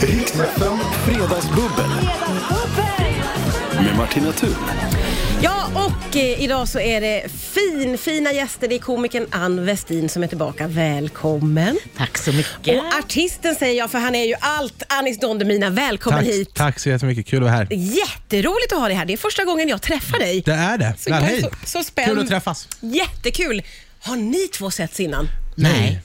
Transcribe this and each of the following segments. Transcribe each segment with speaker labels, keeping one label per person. Speaker 1: Riksfem Fredagsbubbel med Martina Thun.
Speaker 2: Ja, och eh, idag så är det fin, fina gäster. Det är komikern Ann Westin som är tillbaka. Välkommen.
Speaker 3: Tack så mycket.
Speaker 2: Och artisten säger jag, för han är ju allt. Anis Don Demina, välkommen
Speaker 4: Tack,
Speaker 2: hit.
Speaker 4: tack så jättemycket, kul att vara här.
Speaker 2: Jätteroligt att ha dig här. Det är första gången jag träffar dig.
Speaker 4: Det är det.
Speaker 2: Så
Speaker 4: Väl,
Speaker 2: jag är
Speaker 4: hej.
Speaker 2: så- så spänd.
Speaker 4: Kul att träffas.
Speaker 2: Jättekul. Har ni två setts innan?
Speaker 3: Nej.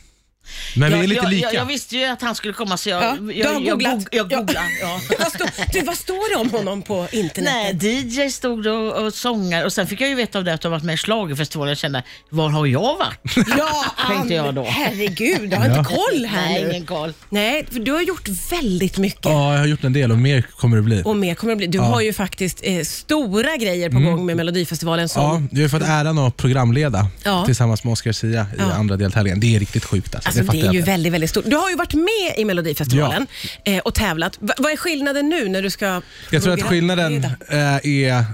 Speaker 4: Men vi
Speaker 3: Jag-
Speaker 4: är lite
Speaker 3: jag,
Speaker 4: lika.
Speaker 3: Jag, jag visste ju att han skulle komma så jag,
Speaker 2: Ja,
Speaker 3: jag,
Speaker 2: du har
Speaker 3: jag,
Speaker 2: googlat.
Speaker 3: goog- jag googlade. Ja.
Speaker 2: vad, står, du, vad står det om honom på internet?
Speaker 3: Nej, DJ stod då och, och sångar och sen fick jag ju veta av det att du har varit med i schlagerfestivalen och kände, var har jag varit?
Speaker 2: Ja,
Speaker 3: Tänkte jag
Speaker 2: Ann,
Speaker 3: då.
Speaker 2: Herregud, du har inte koll här
Speaker 3: Nej,
Speaker 2: nu.
Speaker 3: ingen koll.
Speaker 2: Nej, för du har gjort väldigt mycket.
Speaker 4: Ja, jag har gjort en del och mer kommer det bli.
Speaker 2: Och mer kommer det bli. Du har ju faktiskt eh, stora grejer på gång med Melodifestivalen. Som,
Speaker 4: Mm. Ja, du har ju fått äran att programleda
Speaker 2: Ja.
Speaker 4: tillsammans med Oscar Sia i andra deltävlingen. Det är riktigt sjukt alltså.
Speaker 2: Alltså,
Speaker 4: det fattar
Speaker 2: det är
Speaker 4: jag
Speaker 2: ju
Speaker 4: inte.
Speaker 2: väldigt, väldigt stort. Du har ju varit med i Melodifestivalen eh, och tävlat. Va- vad är skillnaden nu när du ska...
Speaker 4: Jag tror att
Speaker 2: programleda?
Speaker 4: skillnaden eh, är,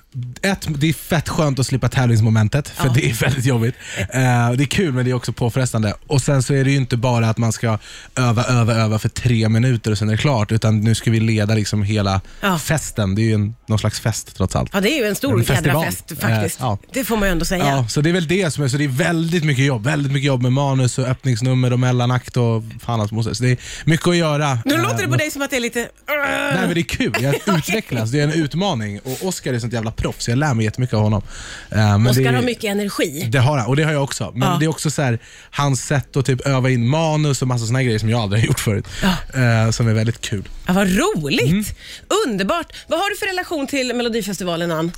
Speaker 4: ett, det är fett skönt att slippa tävlingsmomentet, för
Speaker 2: Ja.
Speaker 4: det är väldigt jobbigt. Eh, det är kul men det är också påfrestande. Och Sen så är det ju inte bara att man ska öva, öva, öva för tre minuter och sen är det klart, utan nu ska vi leda liksom hela
Speaker 2: Ja.
Speaker 4: festen. Det är ju en, någon slags fest trots allt.
Speaker 2: Ja, det är ju en stor
Speaker 4: En festival.
Speaker 2: jädra fest faktiskt.
Speaker 4: Eh, ja.
Speaker 2: Det får man ju ändå säga.
Speaker 4: Ja, så det är väl det som är, så det är väldigt mycket jobb. Väldigt mycket jobb med manus och öppningsnummer och mellanakt och fan allt moses. Det är mycket att göra.
Speaker 2: Nu
Speaker 4: Eh,
Speaker 2: låter det på dig som att det är lite...
Speaker 4: Nej men det är kul, jag utvecklas, det är en utmaning och Oscar är sånt jävla proffs, jag lär mig jättemycket av honom. Eh, Men
Speaker 2: Oskar
Speaker 4: det, är-
Speaker 2: har mycket energi.
Speaker 4: Det har han, och det har jag också. Men
Speaker 2: Ja.
Speaker 4: det är också så här, hans sätt att typ öva in manus och massa såna här grejer som jag aldrig har gjort förut. eh, Som är väldigt kul.
Speaker 2: Ja, vad roligt!
Speaker 4: Mm.
Speaker 2: Underbart! Vad har du för relation till Melodifestivalen, Ann?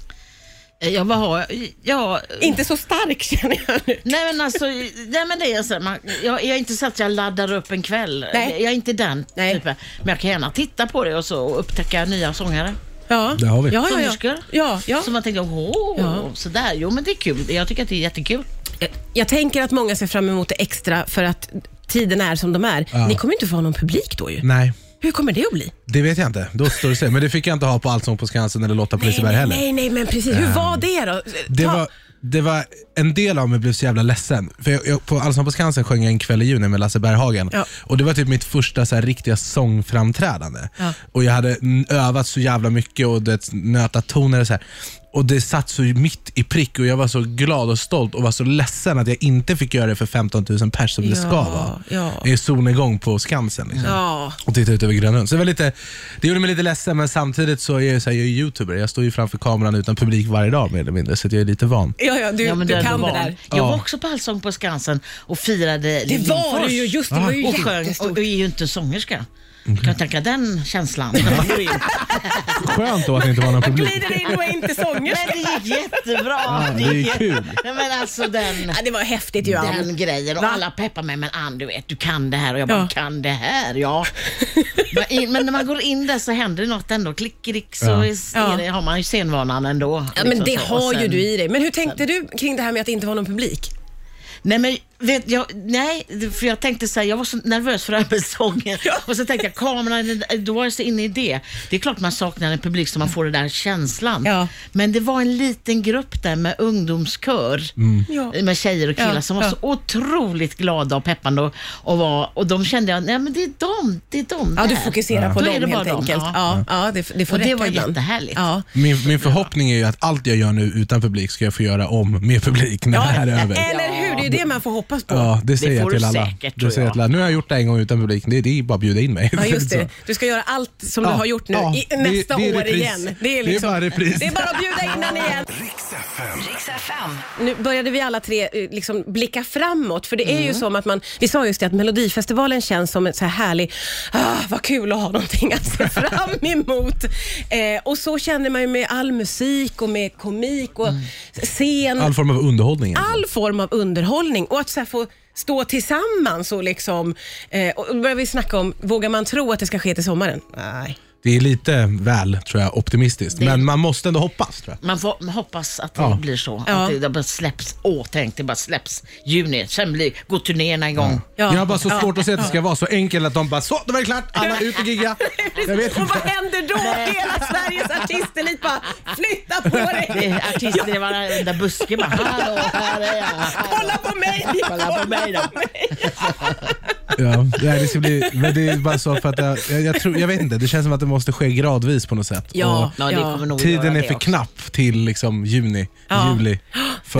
Speaker 3: Jag bara har, ja,
Speaker 2: Inte så stark känner jag nu.
Speaker 3: nej men alltså, nej men det är så här, man, jag, jag är inte så att jag laddar upp en kväll.
Speaker 2: Nej.
Speaker 3: Jag är inte den
Speaker 2: Nej.
Speaker 3: typen. Men jag kan gärna titta på det och så och upptäcka nya sångare.
Speaker 2: Ja,
Speaker 4: Det har vi.
Speaker 2: Ja, ja, ja.
Speaker 3: Sångerskor.
Speaker 2: ja, ja.
Speaker 3: Så man tänker, åh,
Speaker 2: Ja.
Speaker 3: sådär. Jo men det är kul. Jag tycker att det är jättekul.
Speaker 2: Jag- Jag tänker att många ser fram emot det extra för att tiden är som de är. Ni kommer inte få ha någon publik då ju.
Speaker 4: Nej,
Speaker 2: Hur kommer det att bli?
Speaker 4: det vet jag inte. Då står det sig. Men det fick jag inte ha på Allsång på Skansen eller Lotta på Liseberg
Speaker 2: nej,
Speaker 4: heller.
Speaker 2: nej, nej, men precis. Hur var det då?
Speaker 4: Det
Speaker 2: Ta-
Speaker 4: var, det var, en del av mig blev så jävla ledsen. För jag, jag, på Allsång på Skansen sjöng jag en kväll i juni med Lasse Berghagen.
Speaker 2: Ja.
Speaker 4: Och det var typ mitt första så här, riktiga sångframträdande. Och jag hade n- övat så jävla mycket och det, nötat toner och så här. Och det satt så mitt i prick och jag var så glad och stolt och var så ledsen att jag inte fick göra det för 15 000 pers som det ska
Speaker 2: Ja,
Speaker 4: vara.
Speaker 2: ja.
Speaker 4: I solnedgång på Skansen. Liksom.
Speaker 2: Ja.
Speaker 4: Och titta ut över Grönlund. Så det, var lite, det gjorde mig lite ledsen men samtidigt så är jag, så här, jag är youtuber. Jag står ju framför kameran utan publik varje dag mer eller mindre så att jag är lite van.
Speaker 2: Ja, ja, du,
Speaker 3: Ja, men
Speaker 2: du
Speaker 3: är
Speaker 2: kan
Speaker 3: ändå
Speaker 2: det
Speaker 3: van.
Speaker 2: där.
Speaker 3: Jag var
Speaker 4: Ja.
Speaker 3: också på Allsång på Skansen och firade
Speaker 2: Det var
Speaker 3: Lindfors.
Speaker 2: du ju, just det. var ju
Speaker 3: Och sjöng och,
Speaker 2: jättestort.
Speaker 3: och är ju inte sångerska. Kan jag tänka den känslan?
Speaker 4: Skönt då att det inte var någon publik.
Speaker 2: Glider in och är inte
Speaker 3: Men
Speaker 2: sångerska.
Speaker 3: det gick jättebra.
Speaker 4: det är kul.
Speaker 3: Nej, men alltså den,
Speaker 2: Ja, det var häftigt ju,
Speaker 3: den
Speaker 2: Ann.
Speaker 3: grejen. Och
Speaker 2: Va?
Speaker 3: alla peppar mig. Men Ann, du vet, du kan det här. Och jag bara,
Speaker 2: Ja.
Speaker 3: kan det här? Ja. Men in- Men när man går in där så händer det något ändå. Klick, så
Speaker 4: Ja.
Speaker 3: är det, har man ju scenvanan ändå.
Speaker 2: Ja, men
Speaker 3: Liksom
Speaker 2: det
Speaker 3: så. Och
Speaker 2: har ju
Speaker 3: sen-
Speaker 2: du i dig. Men hur tänkte du kring det här med att det inte var någon publik?
Speaker 3: Nej, men vet jag, nej, för jag tänkte så här, jag var så nervös för det här med sången. Och så tänkte jag, kameran, då var jag så inne i det. Det är klart man saknar en publik så man får den där känslan.
Speaker 2: Ja.
Speaker 3: Men det var en liten grupp där med ungdomskör,
Speaker 2: Ja.
Speaker 3: med tjejer och killar
Speaker 2: Ja,
Speaker 3: som var
Speaker 2: ja.
Speaker 3: så otroligt glada och peppande. Och, och, var, och de kände jag, nej men det är de, det är de
Speaker 2: Ja, du
Speaker 3: där.
Speaker 2: fokuserar på
Speaker 3: Då är
Speaker 2: dem
Speaker 3: det bara
Speaker 2: helt
Speaker 3: dem,
Speaker 2: enkelt.
Speaker 3: ja.
Speaker 2: Ja, ja, det, det får
Speaker 3: Och det
Speaker 2: räcka
Speaker 3: var
Speaker 2: ibland.
Speaker 3: jättehärligt.
Speaker 2: Ja.
Speaker 4: Min, min förhoppning är ju att allt jag gör nu utan publik ska jag få göra om med publik när det här är över.
Speaker 2: Eller hur? Det är ju det man får hoppas på.
Speaker 4: Ja, det säger
Speaker 3: Det
Speaker 4: jag
Speaker 3: får du
Speaker 4: till alla.
Speaker 3: säkert,
Speaker 4: Det
Speaker 3: tror
Speaker 4: säger jag
Speaker 3: jag.
Speaker 4: till alla. Nu har jag gjort det en gång utan publik. Det, det är bara att bjuda in mig.
Speaker 2: Ja, just
Speaker 4: Så.
Speaker 2: det. Du ska göra allt som du
Speaker 4: Ja,
Speaker 2: har gjort nu
Speaker 4: ja.
Speaker 2: i,
Speaker 4: Det-
Speaker 2: nästa
Speaker 4: det är
Speaker 2: år
Speaker 4: repris.
Speaker 2: igen. liksom-
Speaker 4: Det är bara repris.
Speaker 2: Det är bara att bjuda in den igen.
Speaker 1: Riksfem.
Speaker 2: Nu började vi alla tre eh, liksom blicka framåt, för det är ju som att man... Vi sa just det att Melodifestivalen känns som en så här härlig... Ah, vad kul att ha någonting att se fram emot. Eh, och så känner man ju med all musik och med komik och scen.
Speaker 4: All form av underhållning. egentligen.
Speaker 2: all form av underhållning och att så här få stå tillsammans och liksom... Eh, och då börjar vi snacka om, vågar man tro att det ska ske till sommaren? Nej.
Speaker 4: Det är lite väl tror jag, optimistiskt, men man måste ändå hoppas. Tror jag.
Speaker 3: Man får man hoppas att det
Speaker 4: Ja.
Speaker 3: blir så.
Speaker 2: Ja.
Speaker 3: Att det, det bara släpps. Åh, tänk, det bara släpps. Juni, sen blir, går turnéerna igång.
Speaker 2: Ja.
Speaker 4: Jag har bara så svårt att se att det ska vara så enkelt att de bara så, då var det klart, alla ut och gigga. Jag vet
Speaker 2: Och
Speaker 4: inte.
Speaker 2: vad händer då? Hela Sveriges artistelit bara, flytta på
Speaker 3: Det
Speaker 2: dig!
Speaker 3: är artister i varenda buske bara, hallå, här är jag.
Speaker 2: Kolla på mig!
Speaker 3: Kolla på mig då.
Speaker 4: Ja, nej, det ska bli, men det är bara så för att jag, jag, jag, tror, jag vet inte, det känns som att det måste ske gradvis på något sätt.
Speaker 2: Ja,
Speaker 4: Och
Speaker 3: Ja, det
Speaker 2: Ja.
Speaker 3: kommer nog
Speaker 4: tiden
Speaker 3: göra
Speaker 4: är
Speaker 3: det
Speaker 4: för
Speaker 3: också.
Speaker 4: knapp till liksom juni,
Speaker 2: Ja.
Speaker 4: juli för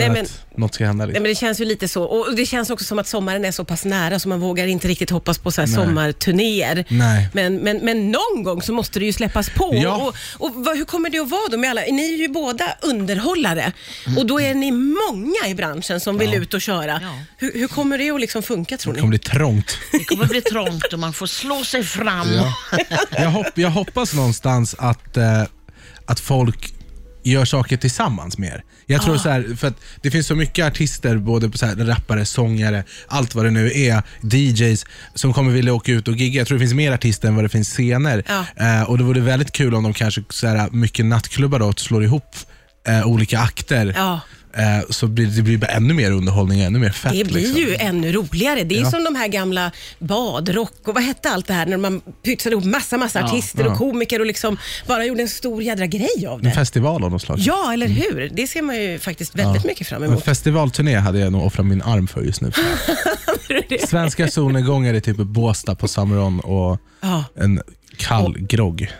Speaker 2: Nej, men-
Speaker 4: att något ska hända.
Speaker 2: Nej,
Speaker 4: Liksom.
Speaker 2: men det känns ju lite så. Och det känns också som att sommaren är så pass nära så man vågar inte riktigt hoppas på så här sommarturnéer.
Speaker 4: Nej.
Speaker 2: Men, men, men någon gång så måste det ju släppas på.
Speaker 4: Ja.
Speaker 2: Och, och vad, hur kommer det att vara då med alla? Ni är ju båda underhållare och då är ni många i branschen som vill ut och köra.
Speaker 3: Ja.
Speaker 2: Hur, hur kommer det att liksom funka tror
Speaker 4: Det
Speaker 2: ni?
Speaker 4: kommer bli trångt.
Speaker 3: Det kommer bli trångt och man får slå sig fram.
Speaker 4: Ja. Jag, hopp, jag hoppas någonstans att, eh, att folk gör saker tillsammans mer. Jag
Speaker 2: Ah.
Speaker 4: tror så här, för att det finns så mycket artister, både på så här, rappare, sångare, allt vad det nu är, DJs, som kommer vilja åka ut och gigga. Jag tror det finns mer artister än vad det finns scener.
Speaker 2: Ja.
Speaker 4: Eh, och Det vore väldigt kul om de kanske, så här, mycket nattklubbar då, slår ihop eh, olika akter.
Speaker 2: Ja.
Speaker 4: Eh, så blir, det blir bara ännu mer underhållning, ännu mer fett.
Speaker 2: Det blir
Speaker 4: liksom.
Speaker 2: ju ännu roligare. Det är som de här gamla badrock och vad hette allt det här när man pytsade ihop massa, massa artister och
Speaker 4: ja.
Speaker 2: komiker och liksom bara gjorde en stor jädra grej av det.
Speaker 4: En festival av något slag.
Speaker 2: Ja, eller hur? Det ser man ju faktiskt väldigt
Speaker 4: Mm. Ja.
Speaker 2: mycket fram
Speaker 4: En
Speaker 2: emot.
Speaker 4: festivalturné hade jag nog offrat min arm för just nu. Svenska solnedgångar är typ Båstad på Summeron och
Speaker 2: Ja.
Speaker 4: en kall grogg.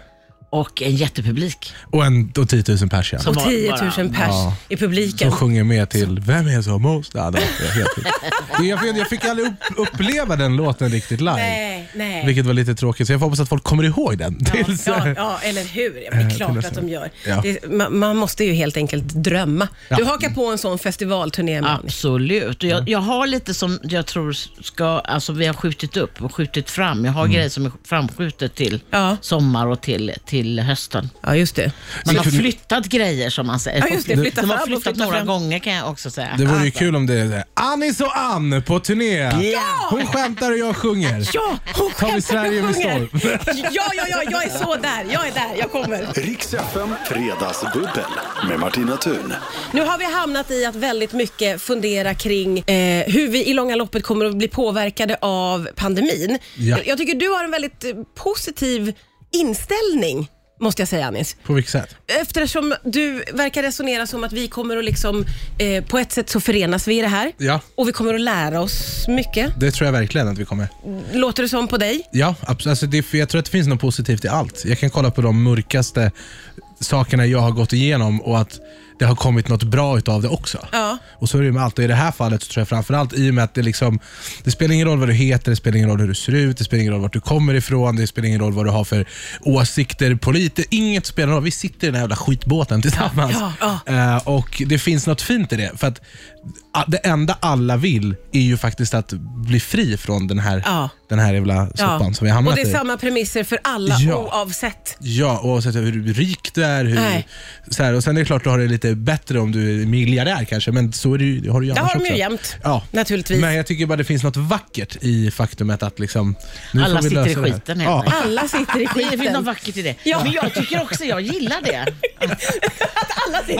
Speaker 3: Och en jättepublik.
Speaker 4: Och, en, och 10 000 pers ja.
Speaker 3: Som
Speaker 2: Och
Speaker 3: var-
Speaker 2: 10 000
Speaker 3: bara-
Speaker 2: pers
Speaker 4: Ja.
Speaker 2: i publiken.
Speaker 4: Som sjunger med till Vem är som måste... Ja, det var helt sjukt. jag, fick, jag fick aldrig upp, uppleva den låten riktigt live.
Speaker 2: Nej, nej.
Speaker 4: Vilket var lite tråkigt, så jag får hoppas att folk kommer ihåg den. tills-
Speaker 2: Ja, ja, eller hur? Ja, men
Speaker 4: Eh,
Speaker 2: det är
Speaker 4: till
Speaker 2: klart
Speaker 4: nästa
Speaker 2: att de gör.
Speaker 4: Ja.
Speaker 2: Det, man, man måste ju helt enkelt drömma. Du
Speaker 4: Ja.
Speaker 2: hakar på en sån festivalturné, Mani.
Speaker 3: Absolut. Och jag, jag har lite som jag tror ska, alltså vi har skjutit upp och skjutit fram. Jag har
Speaker 4: Mm.
Speaker 3: grejer som är framskjutet till
Speaker 2: Ja.
Speaker 3: sommar och till, till hösten.
Speaker 2: Ja, just det.
Speaker 3: Man
Speaker 4: Det
Speaker 3: har
Speaker 4: kunde-
Speaker 3: flyttat grejer som man säger.
Speaker 2: Ja, just det. Flytta
Speaker 3: de har
Speaker 2: fram och
Speaker 3: flyttat
Speaker 2: flytta
Speaker 3: några
Speaker 2: fram.
Speaker 3: gånger kan jag också säga.
Speaker 4: Det
Speaker 2: Alltså.
Speaker 4: vore ju kul om det är så här, Anis och Ann på turné.
Speaker 2: Ja!
Speaker 4: Hon skämtar och jag sjunger.
Speaker 2: Ja, hon
Speaker 4: Tar vi
Speaker 2: skämtar,
Speaker 4: Sverige
Speaker 2: hon
Speaker 4: med
Speaker 2: sjunger.
Speaker 4: storm?
Speaker 2: Ja, ja, ja, jag är så där. Jag är där, jag kommer.
Speaker 1: Riks FM Fredagsbubbel med Martina Thun.
Speaker 2: Nu har vi hamnat i att väldigt mycket fundera kring eh, hur vi i långa loppet kommer att bli påverkade av pandemin.
Speaker 4: Ja.
Speaker 2: Jag tycker du har en väldigt eh, positiv inställning, måste jag säga Anis.
Speaker 4: På vilket sätt?
Speaker 2: Eftersom du verkar resonera som att vi kommer att liksom, eh, på ett sätt så förenas vi i det här.
Speaker 4: Ja.
Speaker 2: Och vi kommer att lära oss mycket.
Speaker 4: Det tror jag verkligen att vi kommer.
Speaker 2: Låter det som på dig?
Speaker 4: Ja, absolut. Alltså det, för jag tror att det finns något positivt i allt. Jag kan kolla på de mörkaste sakerna jag har gått igenom och att det har kommit något bra utav det också.
Speaker 2: Ja.
Speaker 4: Och så är det ju med allt. Och i det här fallet så tror jag framförallt i och med att det liksom, det spelar ingen roll vad du heter, det spelar ingen roll hur du ser ut, det spelar ingen roll vart du kommer ifrån, det spelar ingen roll vad du har för åsikter, politer, inget spelar någon roll. Vi sitter i den här jävla skitbåten tillsammans.
Speaker 2: Ja,
Speaker 4: Eh, och det finns något fint i det. För att ah, det enda alla vill är ju faktiskt att bli fri från den här,
Speaker 2: Ja.
Speaker 4: den här jävla soppan som vi har
Speaker 2: Och
Speaker 4: hamnat
Speaker 2: det är
Speaker 4: i.
Speaker 2: samma premisser för alla
Speaker 4: Ja.
Speaker 2: oavsett.
Speaker 4: Ja, oavsett hur rik du är. Hur,
Speaker 2: Nej.
Speaker 4: så här, och sen är det klart du har det lite bättre om du är miljardär kanske, men så är det ju, det har du ju
Speaker 2: Det
Speaker 4: annars
Speaker 2: har de
Speaker 4: också.
Speaker 2: ju jämt,
Speaker 4: Ja.
Speaker 2: naturligtvis.
Speaker 4: Men jag tycker bara det finns något vackert i faktumet att liksom, nu
Speaker 3: Alla
Speaker 4: får vi
Speaker 3: sitter
Speaker 4: lösa
Speaker 3: i
Speaker 4: det här.
Speaker 3: skiten, helt
Speaker 4: ja.
Speaker 3: enkelt.
Speaker 2: Alla sitter i
Speaker 3: Det finns något
Speaker 2: skiten.
Speaker 3: vackert i det.
Speaker 2: Ja.
Speaker 3: Men jag tycker också, jag gillar det.
Speaker 4: Att alla
Speaker 3: Ja,
Speaker 4: sitter i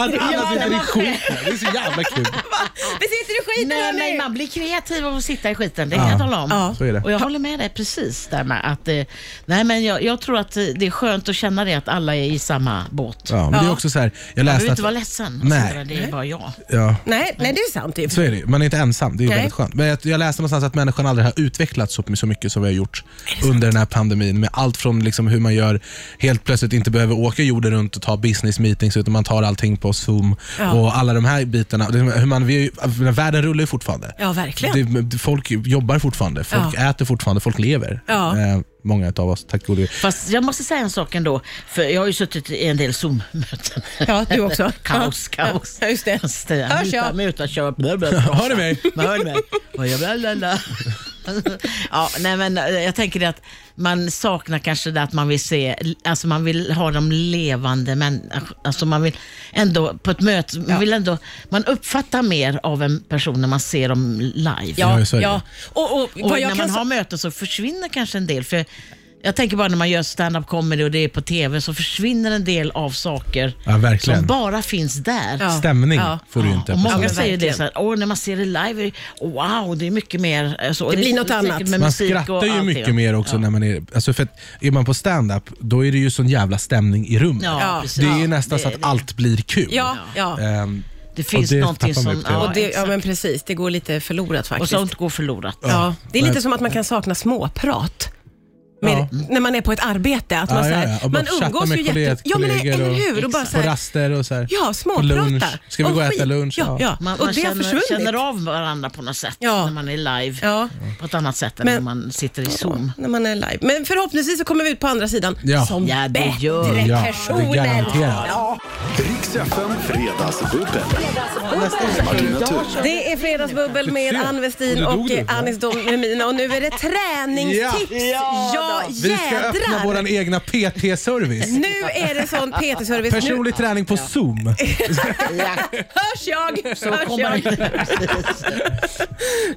Speaker 3: men-
Speaker 4: skiten, det är så jävla kul.
Speaker 2: Vi sitter i skiten
Speaker 3: Nej,
Speaker 2: hörni.
Speaker 3: men man blir kreativ av att sitta i skiten, det kan jag tala om.
Speaker 2: Ja.
Speaker 4: Så är det.
Speaker 3: Och jag håller med dig precis där med att, eh, nej men jag, jag tror att eh, det är skönt att känna det att alla är i samma båt.
Speaker 4: Ja, men det är också så här,
Speaker 3: Man
Speaker 4: jag läste
Speaker 3: behöver
Speaker 4: att...
Speaker 3: inte vara ledsen.
Speaker 4: Nej.
Speaker 3: Sandra, Det är bara jag.
Speaker 4: Ja.
Speaker 2: Nej, nej, det är sant. i och för
Speaker 4: Så är det ju. Man är inte ensam. Det är ju
Speaker 2: Nej.
Speaker 4: väldigt skönt. Men jag, jag läste någonstans att människan aldrig har utvecklats så, så mycket som vi har gjort under den här pandemin. Med allt från liksom hur man gör, helt plötsligt inte behöver åka jorden runt och ta business meetings, utan man tar allting på Zoom och alla de här bitarna. Det är Hur man, vi, är ju- världen rullar ju fortfarande.
Speaker 2: Ja, verkligen.
Speaker 4: Det- Det, folk jobbar fortfarande, folk äter fortfarande, folk lever.
Speaker 2: Ja.
Speaker 4: Eh, många av oss, tack gode gud.
Speaker 3: Fast jag måste säga en sak ändå, för jag har ju suttit i en del Zoom-möten.
Speaker 2: Ja, du också.
Speaker 3: kaos,
Speaker 2: Ja,
Speaker 3: kaos.
Speaker 2: ja, just det.
Speaker 3: Ställa,
Speaker 2: Hörs jag?
Speaker 3: muta, muta, kör. Bla, bla,
Speaker 4: Hör du mig?
Speaker 3: Man hör mig. Och jag bla, bla, bla. Ja, nej, men eh, jag tänker det att man saknar kanske det att man vill se, alltså man vill ha dem levande, men alltså man vill ändå på ett möte, man vill ändå, man uppfattar mer av en person när man ser dem live.
Speaker 2: Ja,
Speaker 4: Ja, så är det.
Speaker 2: ja. Och, och,
Speaker 3: Och
Speaker 2: vad
Speaker 3: när
Speaker 2: jag
Speaker 3: man
Speaker 2: kan...
Speaker 3: har möten så försvinner kanske en del. För jag tänker bara när man gör stand-up comedy och det är på TV så försvinner en del av saker
Speaker 4: Ja, verkligen.
Speaker 3: som bara finns där.
Speaker 2: Ja.
Speaker 4: Stämning
Speaker 2: Ja.
Speaker 4: får du ju inte.
Speaker 3: Och
Speaker 4: på
Speaker 3: många
Speaker 4: samma
Speaker 2: men
Speaker 4: sätt.
Speaker 3: säger det
Speaker 2: verkligen.
Speaker 3: så här, Åh, när man ser det live, är- wow, det är mycket mer. eh, Så. Det,
Speaker 2: blir
Speaker 3: är
Speaker 2: något
Speaker 3: säkert
Speaker 2: annat.
Speaker 3: med
Speaker 4: Man
Speaker 3: musik och
Speaker 4: skrattar ju
Speaker 3: allting.
Speaker 4: mycket mer också när man är... Alltså för att är man på stand-up, då är det ju sån jävla stämning i rummet.
Speaker 3: Ja,
Speaker 2: Ja.
Speaker 3: precis.
Speaker 4: Det är ju
Speaker 3: Ja,
Speaker 4: nästan
Speaker 3: det-
Speaker 4: så att
Speaker 3: det-
Speaker 4: allt blir kul.
Speaker 2: Ja, ja.
Speaker 4: Ehm,
Speaker 3: Det finns
Speaker 4: det
Speaker 3: någonting
Speaker 4: tappar
Speaker 3: som...
Speaker 4: man upp det.
Speaker 2: och det, ja,
Speaker 3: exakt.
Speaker 2: men precis, det går lite förlorat
Speaker 3: och
Speaker 2: faktiskt.
Speaker 3: sånt går förlorat.
Speaker 2: ja. Det är lite
Speaker 4: Men-
Speaker 2: som att man kan sakna småprat. Med, När man är på ett arbete. Att man,
Speaker 4: Ja,
Speaker 2: så
Speaker 4: ja,
Speaker 2: här,
Speaker 4: ja. Och bara
Speaker 2: man
Speaker 4: chatta
Speaker 2: umgås
Speaker 4: med
Speaker 2: ju
Speaker 4: kollegor-
Speaker 2: jätte... Ja, men
Speaker 4: kollegor
Speaker 2: eller
Speaker 4: och-
Speaker 2: hur? Och bara så
Speaker 4: På
Speaker 2: här,
Speaker 4: raster och så här.
Speaker 2: ja, småprata.
Speaker 4: lunch. Ska vi
Speaker 2: Om
Speaker 4: gå och
Speaker 2: skit.
Speaker 4: äta lunch?
Speaker 2: Ja, ja.
Speaker 3: Man,
Speaker 2: och
Speaker 3: man
Speaker 2: det har
Speaker 3: känner,
Speaker 2: försvunnit.
Speaker 3: känner av varandra på något sätt
Speaker 2: Ja.
Speaker 3: när man är live.
Speaker 2: Ja.
Speaker 3: På ett annat sätt än
Speaker 2: Men-
Speaker 3: när man sitter i Zoom.
Speaker 2: när man är live. Men förhoppningsvis så kommer vi ut på andra sidan
Speaker 4: Ja.
Speaker 2: som
Speaker 3: Ja, det
Speaker 2: bättre
Speaker 3: gör vi.
Speaker 4: Ja, det
Speaker 2: personer.
Speaker 4: garanterar jag.
Speaker 1: Riks FM Fredagsbubbel. Med Martina Thun.
Speaker 2: Det är Fredagsbubbel med
Speaker 4: Du ser.
Speaker 2: Ann
Speaker 4: Och
Speaker 2: Westin
Speaker 4: du dog
Speaker 2: och
Speaker 4: du, va?
Speaker 2: Anis Don Memina och nu är det träningstips.
Speaker 3: Ja.
Speaker 2: Ja,
Speaker 4: Vi ska öppna
Speaker 2: jädrar!
Speaker 4: vår egna PT-service.
Speaker 2: Nu är det sån PT-service. Nu
Speaker 4: Personlig träning på Zoom.
Speaker 2: hörs jag! hörs
Speaker 3: kommer
Speaker 2: jag.
Speaker 3: det-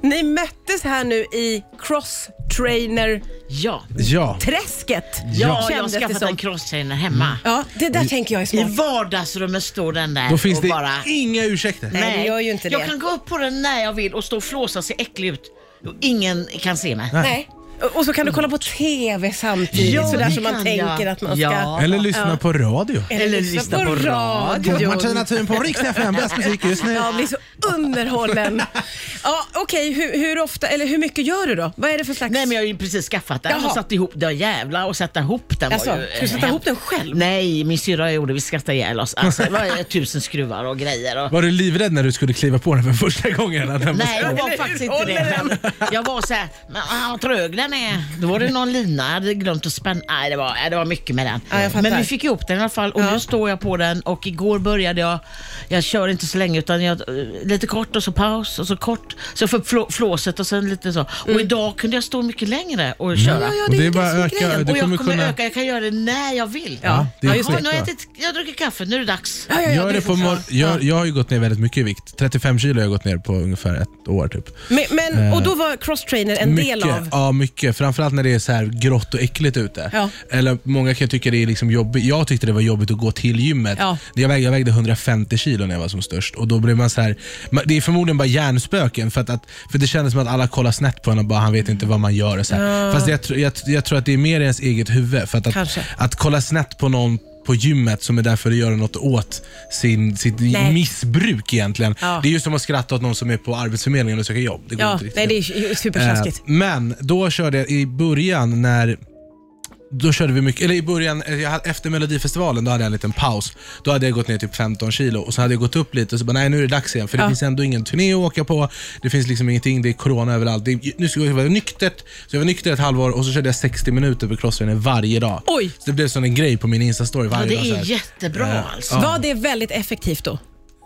Speaker 2: Ni möttes här nu i cross-trainer-träsket.
Speaker 3: Ja.
Speaker 4: Ja.
Speaker 3: Ja, jag har
Speaker 2: Kändes det
Speaker 3: skaffat
Speaker 2: som. Mm.
Speaker 3: en crosstrainer hemma.
Speaker 2: Ja, det där tänker jag är
Speaker 3: I
Speaker 2: smart.
Speaker 3: vardagsrummet står den där
Speaker 4: Då finns
Speaker 3: och
Speaker 4: det
Speaker 3: bara...
Speaker 4: inga ursäkter.
Speaker 2: Nej, det gör ju inte
Speaker 3: jag
Speaker 2: det.
Speaker 3: kan gå upp på den när jag vill och stå och flåsa, se äcklig ut. Och ingen kan se mig.
Speaker 2: Nej. Och- Och så kan du kolla på TV samtidigt,
Speaker 3: Ja,
Speaker 2: sådär
Speaker 3: det
Speaker 2: som man
Speaker 3: kan
Speaker 2: tänker
Speaker 3: jag.
Speaker 2: att man ska...
Speaker 3: Ja.
Speaker 4: Eller lyssna på radio.
Speaker 3: Eller lyssna på
Speaker 4: Och
Speaker 2: radio.
Speaker 4: Martina Thun på Rix FM, bäst musik just nu.
Speaker 2: Jag blir så underhållen. Ja, Okej, hur, hur ofta, eller hur mycket gör du då? Vad är det för slags...
Speaker 3: Nej men jag har ju precis skaffat den
Speaker 2: Jaha.
Speaker 3: och satt ihop den. Jävlar och sätta ihop den
Speaker 2: Alltså,
Speaker 3: var ju... eh,
Speaker 2: ska du sätta
Speaker 3: hem-
Speaker 2: ihop den själv?
Speaker 3: Nej, min syrra gjorde vi skrattade ihjäl oss. Alltså, det var ju tusen skruvar och grejer. Och...
Speaker 4: Var du livrädd när du skulle kliva på den för första gången? Att den var
Speaker 3: Nej, jag
Speaker 4: stor?
Speaker 3: var faktiskt inte det. Men jag var så här, men ah, vad trög den är. Då var det någon lina jag hade glömt att spänna. Nej, det var, nej, det var mycket med den.
Speaker 2: Ja, jag fattar.
Speaker 3: men vi fick ihop den i alla fall och nu står jag på den och igår började jag, jag kör inte så länge utan jag, eh, lite kort och så paus och så kort. Så jag får upp flå, flåset och sen lite så. Och idag kunde jag stå mycket längre och köra.
Speaker 2: Mm. Ja, ja,
Speaker 4: Och
Speaker 2: det
Speaker 4: det
Speaker 2: är
Speaker 4: är bara
Speaker 2: det som är
Speaker 4: öka-
Speaker 2: grejen.
Speaker 4: det
Speaker 3: och jag
Speaker 4: kommer
Speaker 3: kommer
Speaker 4: kunna-
Speaker 3: öka, jag kan göra det när jag vill.
Speaker 4: Ja, det är
Speaker 2: Ja,
Speaker 3: Jaha,
Speaker 2: just det.
Speaker 3: nu har jag, ätit, jag har druckit kaffe, nu är det dags.
Speaker 2: Ja, ja, ja,
Speaker 4: Jag, är
Speaker 2: det
Speaker 4: det
Speaker 2: är
Speaker 4: på
Speaker 2: så.
Speaker 4: mor- jag, jag har ju gått ner väldigt mycket i vikt. 35 kilo har jag gått ner på ungefär ett år. typ.
Speaker 2: Men, men, och då var crosstrainer en del av...
Speaker 4: Ja, mycket. Framförallt när det är så här grått och äckligt ute.
Speaker 2: Ja.
Speaker 4: Eller Många kan tycka det är liksom jobbigt. Jag tyckte det var jobbigt att gå till gymmet.
Speaker 2: Ja.
Speaker 4: Jag, vägde, jag vägde 150 kilo när jag var som störst. Och då blev man så här, man- det är förmodligen bara hjärnspöken, för, att, att, för det kändes som att alla kollar snett på en och bara han vet inte vad man gör. Och så här. Fast jag, tr- jag, jag tror att det är mer i ens eget huvud. För att, att,
Speaker 2: Kanske.
Speaker 4: att kolla snett på någon på gymmet som är där för att göra något åt sin, sitt
Speaker 2: Nej.
Speaker 4: missbruk egentligen.
Speaker 2: Ja.
Speaker 4: Det är ju som att skratta åt någon som är på Arbetsförmedlingen och söker jobb. Det går
Speaker 2: Ja,
Speaker 4: inte riktigt
Speaker 2: nej, det
Speaker 4: ihop.
Speaker 2: är ju supertjaskigt.
Speaker 4: Eh, Men då körde jag i början när då körde vi mycket, eller i början, eh, jag hade- efter Melodifestivalen, då hade jag en liten paus. Då hade jag gått ner typ 15 kilo och så hade jag gått upp lite och så bara, nej nu är det dags igen. För det
Speaker 2: Ja.
Speaker 4: finns ändå ingen turné att åka på, det finns liksom ingenting, det är corona överallt. Det, är- nu ska jag vara nyktert. Så jag var nykter ett halvår och så körde jag 60 minuter på crossfit varje dag.
Speaker 2: Oj.
Speaker 4: Så det blev som en grej på min Insta-story
Speaker 3: Ja,
Speaker 4: varje
Speaker 3: det
Speaker 4: dag. så
Speaker 3: är
Speaker 4: här.
Speaker 3: jättebra alltså.
Speaker 2: Var det väldigt effektivt då?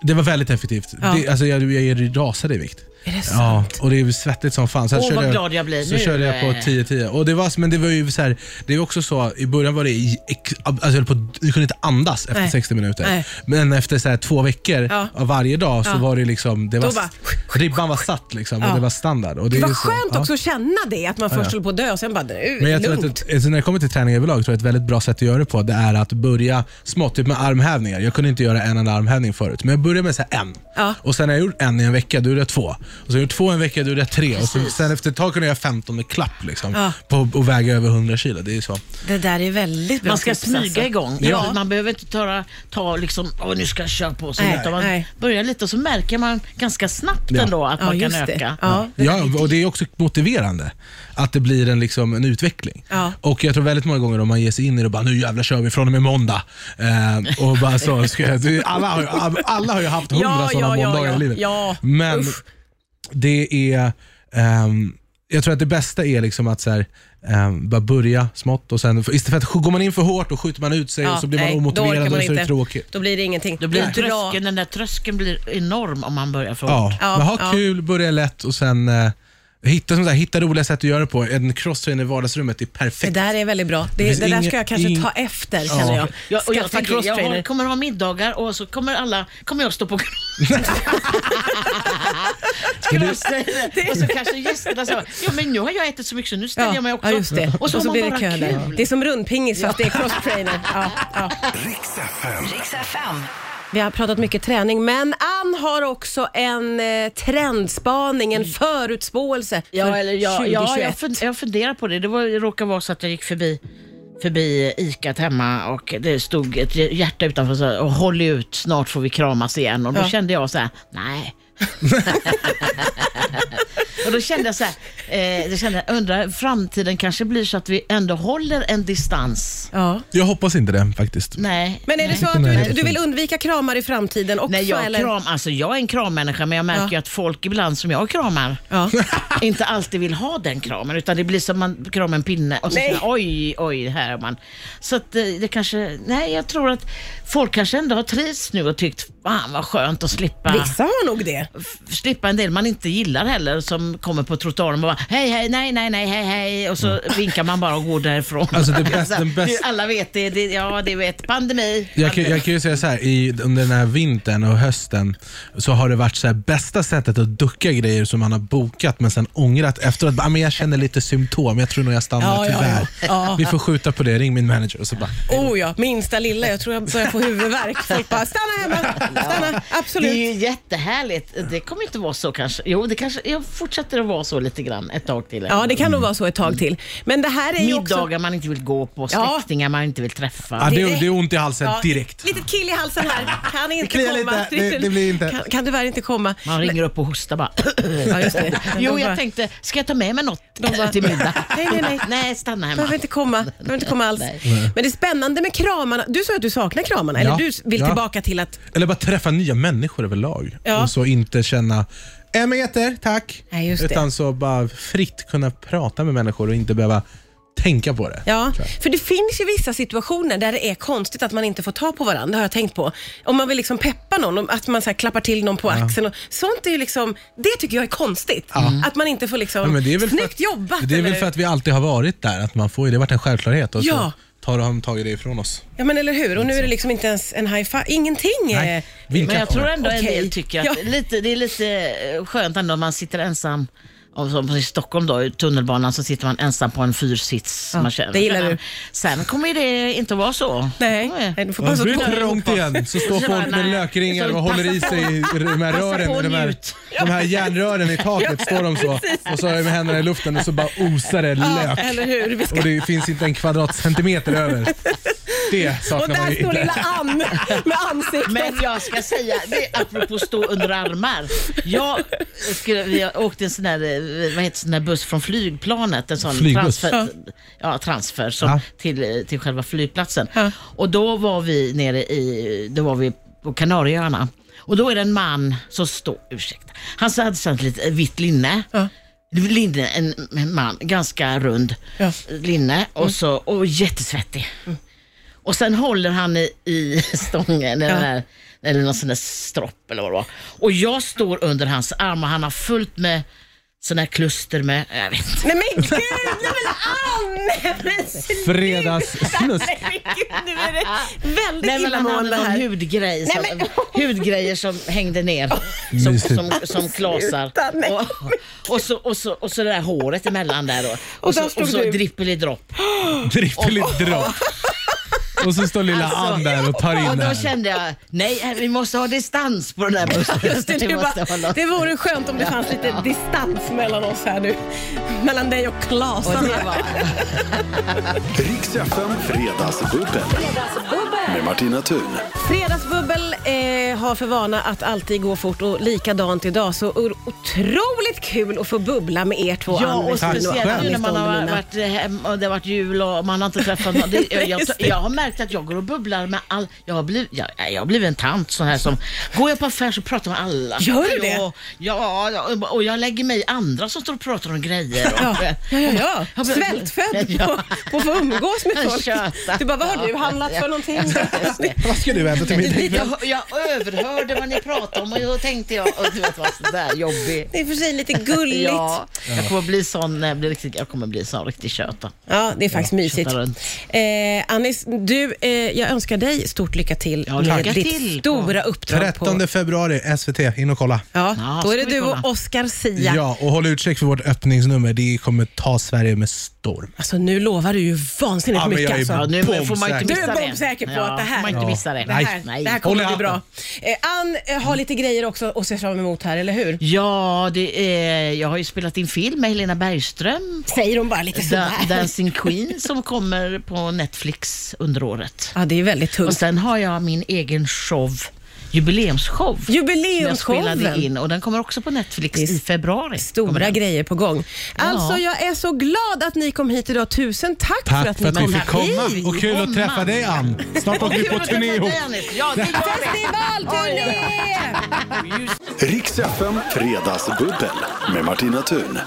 Speaker 4: Det var väldigt effektivt.
Speaker 2: Ja.
Speaker 4: Det, alltså jag, jag rasade i vikt.
Speaker 2: Är det
Speaker 4: Ja, och det är ju svettigt som fan. Sen
Speaker 3: Åh,
Speaker 4: körde
Speaker 3: vad glad jag blir
Speaker 4: Så
Speaker 3: nu.
Speaker 4: körde jag på 10-10. Och det var, men det var ju så här, det är också så, i början var det, i- ex- alltså jag, höll på, jag kunde inte andas efter
Speaker 2: Nej.
Speaker 4: 60 minuter.
Speaker 2: Nej.
Speaker 4: Men efter så här, två veckor
Speaker 2: Ja.
Speaker 4: av varje dag så
Speaker 2: Ja.
Speaker 4: var det liksom, det var,
Speaker 2: Då bara-
Speaker 4: ribban var satt liksom
Speaker 2: Ja.
Speaker 4: och det var standard. Och det
Speaker 2: Det
Speaker 4: är
Speaker 2: var
Speaker 4: ju så,
Speaker 2: skönt
Speaker 4: ja.
Speaker 2: också att känna det, att man först höll på att dö och sen bara, nu är
Speaker 4: Men
Speaker 2: det
Speaker 4: jag tror
Speaker 2: lugnt.
Speaker 4: att ett, alltså när det kommer till träning överlag, tror jag ett väldigt bra sätt att göra det på det är att börja smått, typ med armhävningar. Jag kunde inte göra en enda armhävning förut, men jag började med så här en.
Speaker 2: Ja.
Speaker 4: Och Sen har jag gjort en i en vecka, då gjorde jag två. Och sen har jag gjort två i en vecka, då gjorde jag tre. Och sen, sen efter ett tag kunde jag göra 15 med klapp liksom,
Speaker 2: Ja.
Speaker 4: på, och väga över 100 kilo. Det är ju så.
Speaker 2: Det där är väldigt bra
Speaker 3: Man ska
Speaker 2: tips,
Speaker 3: smyga
Speaker 2: alltså.
Speaker 3: igång.
Speaker 4: Ja.
Speaker 3: Man behöver inte ta, ta liksom, åh nu ska jag köra på sig.
Speaker 2: Nej,
Speaker 3: Utan man
Speaker 2: nej.
Speaker 3: börjar lite och så märker man ganska snabbt
Speaker 4: Ja.
Speaker 3: ändå att
Speaker 2: Ja,
Speaker 3: man kan
Speaker 2: just det.
Speaker 3: öka.
Speaker 2: Ja.
Speaker 4: Ja, och det är också motiverande att det blir en, liksom, en utveckling.
Speaker 2: Ja.
Speaker 4: Och jag tror väldigt många gånger om man ger sig in i det och bara nu jävlar kör vi från och med måndag. Eh, och bara så, ska jag, alla, har ju, alla har ju haft hundra
Speaker 2: Ja,
Speaker 4: sådana
Speaker 2: ja, ja,
Speaker 4: måndagar
Speaker 2: ja.
Speaker 4: i livet.
Speaker 2: Ja.
Speaker 4: Men
Speaker 2: Usch.
Speaker 4: det är, ehm, jag tror att det bästa är liksom att så här, ehm, bara börja smått och sen, för istället för att går man in för hårt och skjuter man ut sig
Speaker 2: Ja,
Speaker 4: och så blir man
Speaker 2: nej, då
Speaker 4: omotiverad
Speaker 2: orkar
Speaker 4: och
Speaker 2: man
Speaker 4: så är det
Speaker 2: inte.
Speaker 4: tråkigt.
Speaker 2: Då blir det ingenting.
Speaker 3: Då blir
Speaker 2: Dra-
Speaker 3: tröskeln, den där tröskeln blir enorm om man börjar för hårt.
Speaker 4: Ja,
Speaker 2: Ja,
Speaker 4: men ha
Speaker 2: ja.
Speaker 4: kul, börja lätt och sen eh, hitta, sånt där, hitta roliga sätt att göra det på. En crosstrainer i vardagsrummet är
Speaker 2: Det
Speaker 4: perfekt.
Speaker 2: där är väldigt bra. Det,
Speaker 4: finns
Speaker 2: det där
Speaker 4: ingen-
Speaker 2: ska jag kanske
Speaker 4: ing-
Speaker 2: ta efter, känner jag.
Speaker 3: Jag, och jag,
Speaker 2: Skaffa
Speaker 3: tänker, jag har,
Speaker 2: crosstrainer.
Speaker 3: kommer ha middagar och så kommer alla, kommer jag stå på crosstrainer. och så kanske gästerna säger, ja men nu har jag ätit så mycket så nu ställer jag mig också
Speaker 2: ja, just det.
Speaker 3: upp. Och så, har man
Speaker 2: blir det
Speaker 3: bara
Speaker 2: kö där.
Speaker 3: kul.
Speaker 2: Det är som rundpingis fast det är crosstrainer. Ja, ja.
Speaker 1: Riks FM.
Speaker 5: Riks FM.
Speaker 2: Vi har pratat mycket träning, men Ann har också en eh, trendspaning, en förutspåelse
Speaker 3: Mm. Ja,
Speaker 2: för
Speaker 3: eller jag,
Speaker 2: 2021.
Speaker 3: ja jag, fun- jag funderar på det. Det var, det råkade vara så att jag gick förbi förbi ikat hemma och det stod ett hjärta utanför så här, och håll ut, snart får vi kramas igen. Och då
Speaker 2: Ja.
Speaker 3: kände jag så här, nej. och då kände jag så här, eh, då kände jag, undrar, framtiden kanske blir så att vi ändå håller en distans.
Speaker 2: Ja.
Speaker 4: Jag hoppas inte det faktiskt.
Speaker 3: Nej.
Speaker 2: Men är det så att
Speaker 4: Nej,
Speaker 2: du,
Speaker 4: det är
Speaker 2: du vill
Speaker 4: fint.
Speaker 2: undvika kramar i framtiden också?
Speaker 3: Nej, jag,
Speaker 2: eller?
Speaker 3: kram, alltså jag är en krammänniska men jag märker
Speaker 2: Ja.
Speaker 3: ju att folk ibland som jag kramar
Speaker 2: Ja.
Speaker 3: inte alltid vill ha den kramen utan det blir som man kramar en pinne och så
Speaker 2: Nej.
Speaker 3: känner man, oj, oj, här är man. Så att eh, det kanske, nej jag tror att folk kanske ändå har trivts nu och tyckt fan vad skönt att slippa,
Speaker 2: Vissa har nog det.
Speaker 3: f- slippa en del man inte gillar heller som kommer på trottoaren och bara hej, hej, nej, nej, nej, hej, hej och så vinkar man bara och går därifrån.
Speaker 4: Mm. Alltså, det bästa- den
Speaker 3: Du,
Speaker 4: bästa-
Speaker 3: Alla vet det, det, ja det vet, pandemi.
Speaker 4: Jag kan, jag kan ju säga så här, i, under den här vintern och hösten så har det varit så här, bästa sättet att ducka grejer som man har bokat men sen ångrat efteråt. Bara, "Ah, men jag känner lite symptom, jag tror nog jag stannar
Speaker 2: Ja, ja, ja.
Speaker 4: tyvärr.
Speaker 2: Ja.
Speaker 4: Vi får skjuta på det, ring min manager. Och så bara,
Speaker 2: Oh ja, minsta lilla. Jag tror jag börjar få huvudvärk. Folk bara, stanna hemma, stanna,
Speaker 3: Det
Speaker 2: absolut.
Speaker 3: är ju jättehärligt. Det kommer inte vara så kanske. Jo, det kanske jag fortsätter att vara så lite grann ett tag till.
Speaker 2: Ja, det kan nog vara så ett
Speaker 4: Mm.
Speaker 2: tag till. Men det här är ju också...
Speaker 3: Middagar man inte vill gå på,
Speaker 2: Ja.
Speaker 3: släktingar man inte vill träffa.
Speaker 4: ah, det,
Speaker 2: direkt.
Speaker 4: det är ont i halsen direkt.
Speaker 2: Litet kill i halsen här. Kan inte
Speaker 4: kliar
Speaker 2: komma.
Speaker 4: lite. Det- det blir inte.
Speaker 2: Kan, kan tyvärr inte komma.
Speaker 3: Man ringer upp och hostar bara.
Speaker 2: Ja, just det.
Speaker 3: jo,
Speaker 2: De bara-
Speaker 3: jag tänkte, ska jag ta med mig något
Speaker 2: bara-
Speaker 3: till middag?
Speaker 2: Nej, nej, nej.
Speaker 3: Nej, stanna hemma.
Speaker 2: Behöver inte komma, behöver inte komma alls.
Speaker 3: Nej.
Speaker 2: Men det är spännande med kramarna. Du sa att du saknar kramarna,
Speaker 4: Ja.
Speaker 2: eller du vill
Speaker 4: Ja.
Speaker 2: tillbaka till att...
Speaker 4: Eller bara träffa nya människor överlag
Speaker 2: Ja.
Speaker 4: och så inte känna "Äh, en meter, tack.
Speaker 2: Nej, just det.
Speaker 4: Utan så bara fritt kunna prata med människor och inte behöva tänka på det.
Speaker 2: Ja,
Speaker 4: tror jag.
Speaker 2: för det finns ju vissa situationer där det är konstigt att man inte får ta på varandra, det har jag tänkt på. Om man vill liksom peppa någon, om- att man så här klappar till någon på axeln. Och, sånt är ju liksom, det tycker jag är konstigt. Att man inte får liksom,
Speaker 4: Ja, men det är väl för
Speaker 2: snyggt
Speaker 4: att,
Speaker 2: jobbat.
Speaker 4: Det är väl
Speaker 2: eller-
Speaker 4: för att vi alltid har varit där, att man får ju, det har varit en självklarhet och
Speaker 2: Ja.
Speaker 4: så tar de tagit det ifrån oss.
Speaker 2: Ja men eller hur, och nu är det liksom inte ens en high five, ingenting.
Speaker 4: Nej,
Speaker 2: eh,
Speaker 4: vilka
Speaker 3: Men jag tror ändå en
Speaker 2: Okej.
Speaker 3: del tycker att
Speaker 2: Ja.
Speaker 3: lite, det är lite eh, skönt ändå om man sitter ensam. Om, som i Stockholm då, i tunnelbanan så sitter man ensam på en fyrsits. man känner.
Speaker 2: det gillar du.
Speaker 3: Sen kommer ju det inte att vara så.
Speaker 2: Nej, nej, du får
Speaker 4: Ja,
Speaker 2: passa
Speaker 4: det blir
Speaker 2: på.
Speaker 4: trångt igen, så står
Speaker 3: Så bara,
Speaker 4: folk med
Speaker 3: nej,
Speaker 4: lökringar
Speaker 3: så
Speaker 4: och
Speaker 2: Alltså,
Speaker 4: håller i
Speaker 3: passa
Speaker 4: sig i i de här
Speaker 3: passa på
Speaker 4: rören,
Speaker 3: och
Speaker 4: de här,
Speaker 3: njut.
Speaker 4: de här järnrören i taket, står de så och så har de händerna i luften och så bara osar det
Speaker 2: Ja,
Speaker 4: lök.
Speaker 2: eller hur. Vi ska...
Speaker 4: Och det finns inte en kvadratcentimeter över. Det
Speaker 2: Och
Speaker 4: saknar man
Speaker 2: där
Speaker 4: ju
Speaker 2: står lilla
Speaker 4: inte.
Speaker 2: Ann med ansiktet.
Speaker 3: Men jag ska säga, det, apropå stå under armar. Jag, skulle, jag åkte en sån där, eh, vad heter sån där buss från flygplanet, en sån
Speaker 4: Flygbuss?
Speaker 3: transfer, ja, transfer som,
Speaker 4: Ja.
Speaker 3: till, eh, till själva flygplatsen.
Speaker 2: Ja.
Speaker 3: Och då var vi nere i, då var vi på Kanarieöarna. Och då är det en man som står, ursäkta, han så hade sånt lite vitt linne.
Speaker 2: Ja.
Speaker 3: Linne, en, en man, ganska rund
Speaker 2: Ja. Mm.
Speaker 3: linne och, så, och jättesvettig. Och sen håller han i, i stången, eller, den här, eller någon sån där stropp eller vad det var. Och jag står under hans arm och han har fullt med sån här kluster med, jag vet inte.
Speaker 2: Nej men gud, nej men Ann! Men sluta!
Speaker 4: Fredagssnusk.
Speaker 2: Nej men gud, nu är det väldigt
Speaker 3: Nej, men han hade
Speaker 2: illamående
Speaker 3: någon
Speaker 2: här.
Speaker 3: hudgrej som,
Speaker 2: Nej,
Speaker 3: hudgrejer som hängde ner. Som,
Speaker 4: Mysigt.
Speaker 3: som, som klasar.
Speaker 2: Sluta, nej.
Speaker 3: Och, och, så, och, så, och så det där håret emellan där då. Och,
Speaker 2: Och där
Speaker 3: så,
Speaker 2: stod
Speaker 3: och så
Speaker 2: du.
Speaker 3: drippelig dropp.
Speaker 4: Drippeligt dropp. Och så står lilla
Speaker 2: Alltså.
Speaker 4: Ann där och tar
Speaker 3: och
Speaker 4: in det
Speaker 3: då
Speaker 4: här.
Speaker 3: kände jag, nej vi måste ha distans på den här bussen.
Speaker 2: Just det,
Speaker 3: Vi
Speaker 2: du
Speaker 3: måste ha
Speaker 2: bara,
Speaker 3: något.
Speaker 2: det vore skönt om det fanns lite distans mellan oss här nu. Mellan dig och Klas.
Speaker 3: Och det var...
Speaker 1: Riks FM Fredagsbubbel. Med Martina Thun.
Speaker 2: Fredagsbubbel eh, har för vana att alltid gå fort och likadant idag så o- otroligt kul att få bubbla med er två.
Speaker 3: Ja,
Speaker 2: Ann
Speaker 3: och
Speaker 2: Westin
Speaker 3: speciellt
Speaker 4: själv.
Speaker 3: nu när man
Speaker 2: Ann
Speaker 3: har
Speaker 2: Westin och
Speaker 3: varit hem och det har varit jul och man har inte träffat någon. Det, jag, jag, jag har märkt att jag går och bubblar med all... Jag har blivit, jag, jag har blivit en tant sån här som... Går jag på affär så pratar jag med alla.
Speaker 2: Gör du det?
Speaker 3: Ja, ja, och- och jag lägger mig i andra som står och pratar om grejer.
Speaker 2: Ja,
Speaker 3: Och-
Speaker 2: ja, ja. ja.
Speaker 3: men-
Speaker 2: Svältfödd
Speaker 3: Ja.
Speaker 2: på, på att få umgås med folk.
Speaker 3: Tjöta.
Speaker 2: Du bara, vad har du handlat för någonting?
Speaker 4: Vad ska du äta till middag ikväll?
Speaker 3: Jag, jag överhörde vad ni pratade om och då tänkte jag, och du vet vad sådär jobbig.
Speaker 2: Det är i och för sig lite gulligt. Ja,
Speaker 3: Ja, jag kommer bli sån, när jag blir riktigt, jag kommer bli sån riktig tjöta.
Speaker 2: det är faktiskt mysigt.
Speaker 3: tjötar runt.
Speaker 2: Eh, Anis, du, eh, jag önskar dig stort lycka till
Speaker 3: Ja,
Speaker 2: med
Speaker 3: lycka
Speaker 2: ditt
Speaker 3: till.
Speaker 2: stora uppdrag. på,
Speaker 4: 13 februari, SVT. In och kolla.
Speaker 2: ja,
Speaker 3: Ja,
Speaker 2: då är det
Speaker 3: ska vi
Speaker 2: du och
Speaker 3: kolla.
Speaker 2: Oscar Sia.
Speaker 4: Ja. och håll utkik för vårt öppningsnummer. Det kommer ta Sverige med storm.
Speaker 2: Alltså, nu lovar du ju vansinnigt
Speaker 4: Ja, men
Speaker 2: mycket.
Speaker 4: jag är
Speaker 2: alltså.
Speaker 3: Ja, nu får man ju inte
Speaker 2: Du
Speaker 4: Bombsäker.
Speaker 3: missa
Speaker 2: är
Speaker 3: det.
Speaker 2: bombsäker på
Speaker 3: Ja,
Speaker 2: att det här...
Speaker 3: Får man inte
Speaker 4: Ja.
Speaker 3: missa det.
Speaker 2: Det här,
Speaker 3: Nej.
Speaker 2: Det här kommer
Speaker 4: Håll i
Speaker 2: bli bra.
Speaker 4: hatten.
Speaker 2: Eh, Ann eh, har lite grejer också att se fram emot här, eller hur?
Speaker 3: Ja, det är, jag har ju spelat in film med Helena Bergström,
Speaker 2: Säger hon bara lite
Speaker 3: Da-
Speaker 2: sådär.
Speaker 3: Dancing Queen, som kommer på Netflix under året.
Speaker 2: Ja, det är väldigt
Speaker 3: Och
Speaker 2: tungt.
Speaker 3: sen har jag min egen show, jubileumsshow. som jag spelade
Speaker 2: Jubileumsshowen.
Speaker 3: in och den kommer också på Netflix
Speaker 2: Det är
Speaker 3: i februari. kommer
Speaker 2: Stora
Speaker 3: den.
Speaker 2: grejer på gång. Alltså, jag är så glad att ni kom hit idag. Tusen tack,
Speaker 4: Tack
Speaker 2: för att ni kom
Speaker 4: vi fick
Speaker 2: hit.
Speaker 4: komma.
Speaker 3: Hej,
Speaker 4: Och kul att
Speaker 3: komma.
Speaker 4: träffa dig Ann. Snart åker vi på
Speaker 3: Kul att träffa
Speaker 4: turné
Speaker 3: dig,
Speaker 4: ihop.
Speaker 3: Anders. Ja, det gör vi.
Speaker 2: Festivalturné!
Speaker 1: Riks FM Fredagsbubbel med Martina Thun.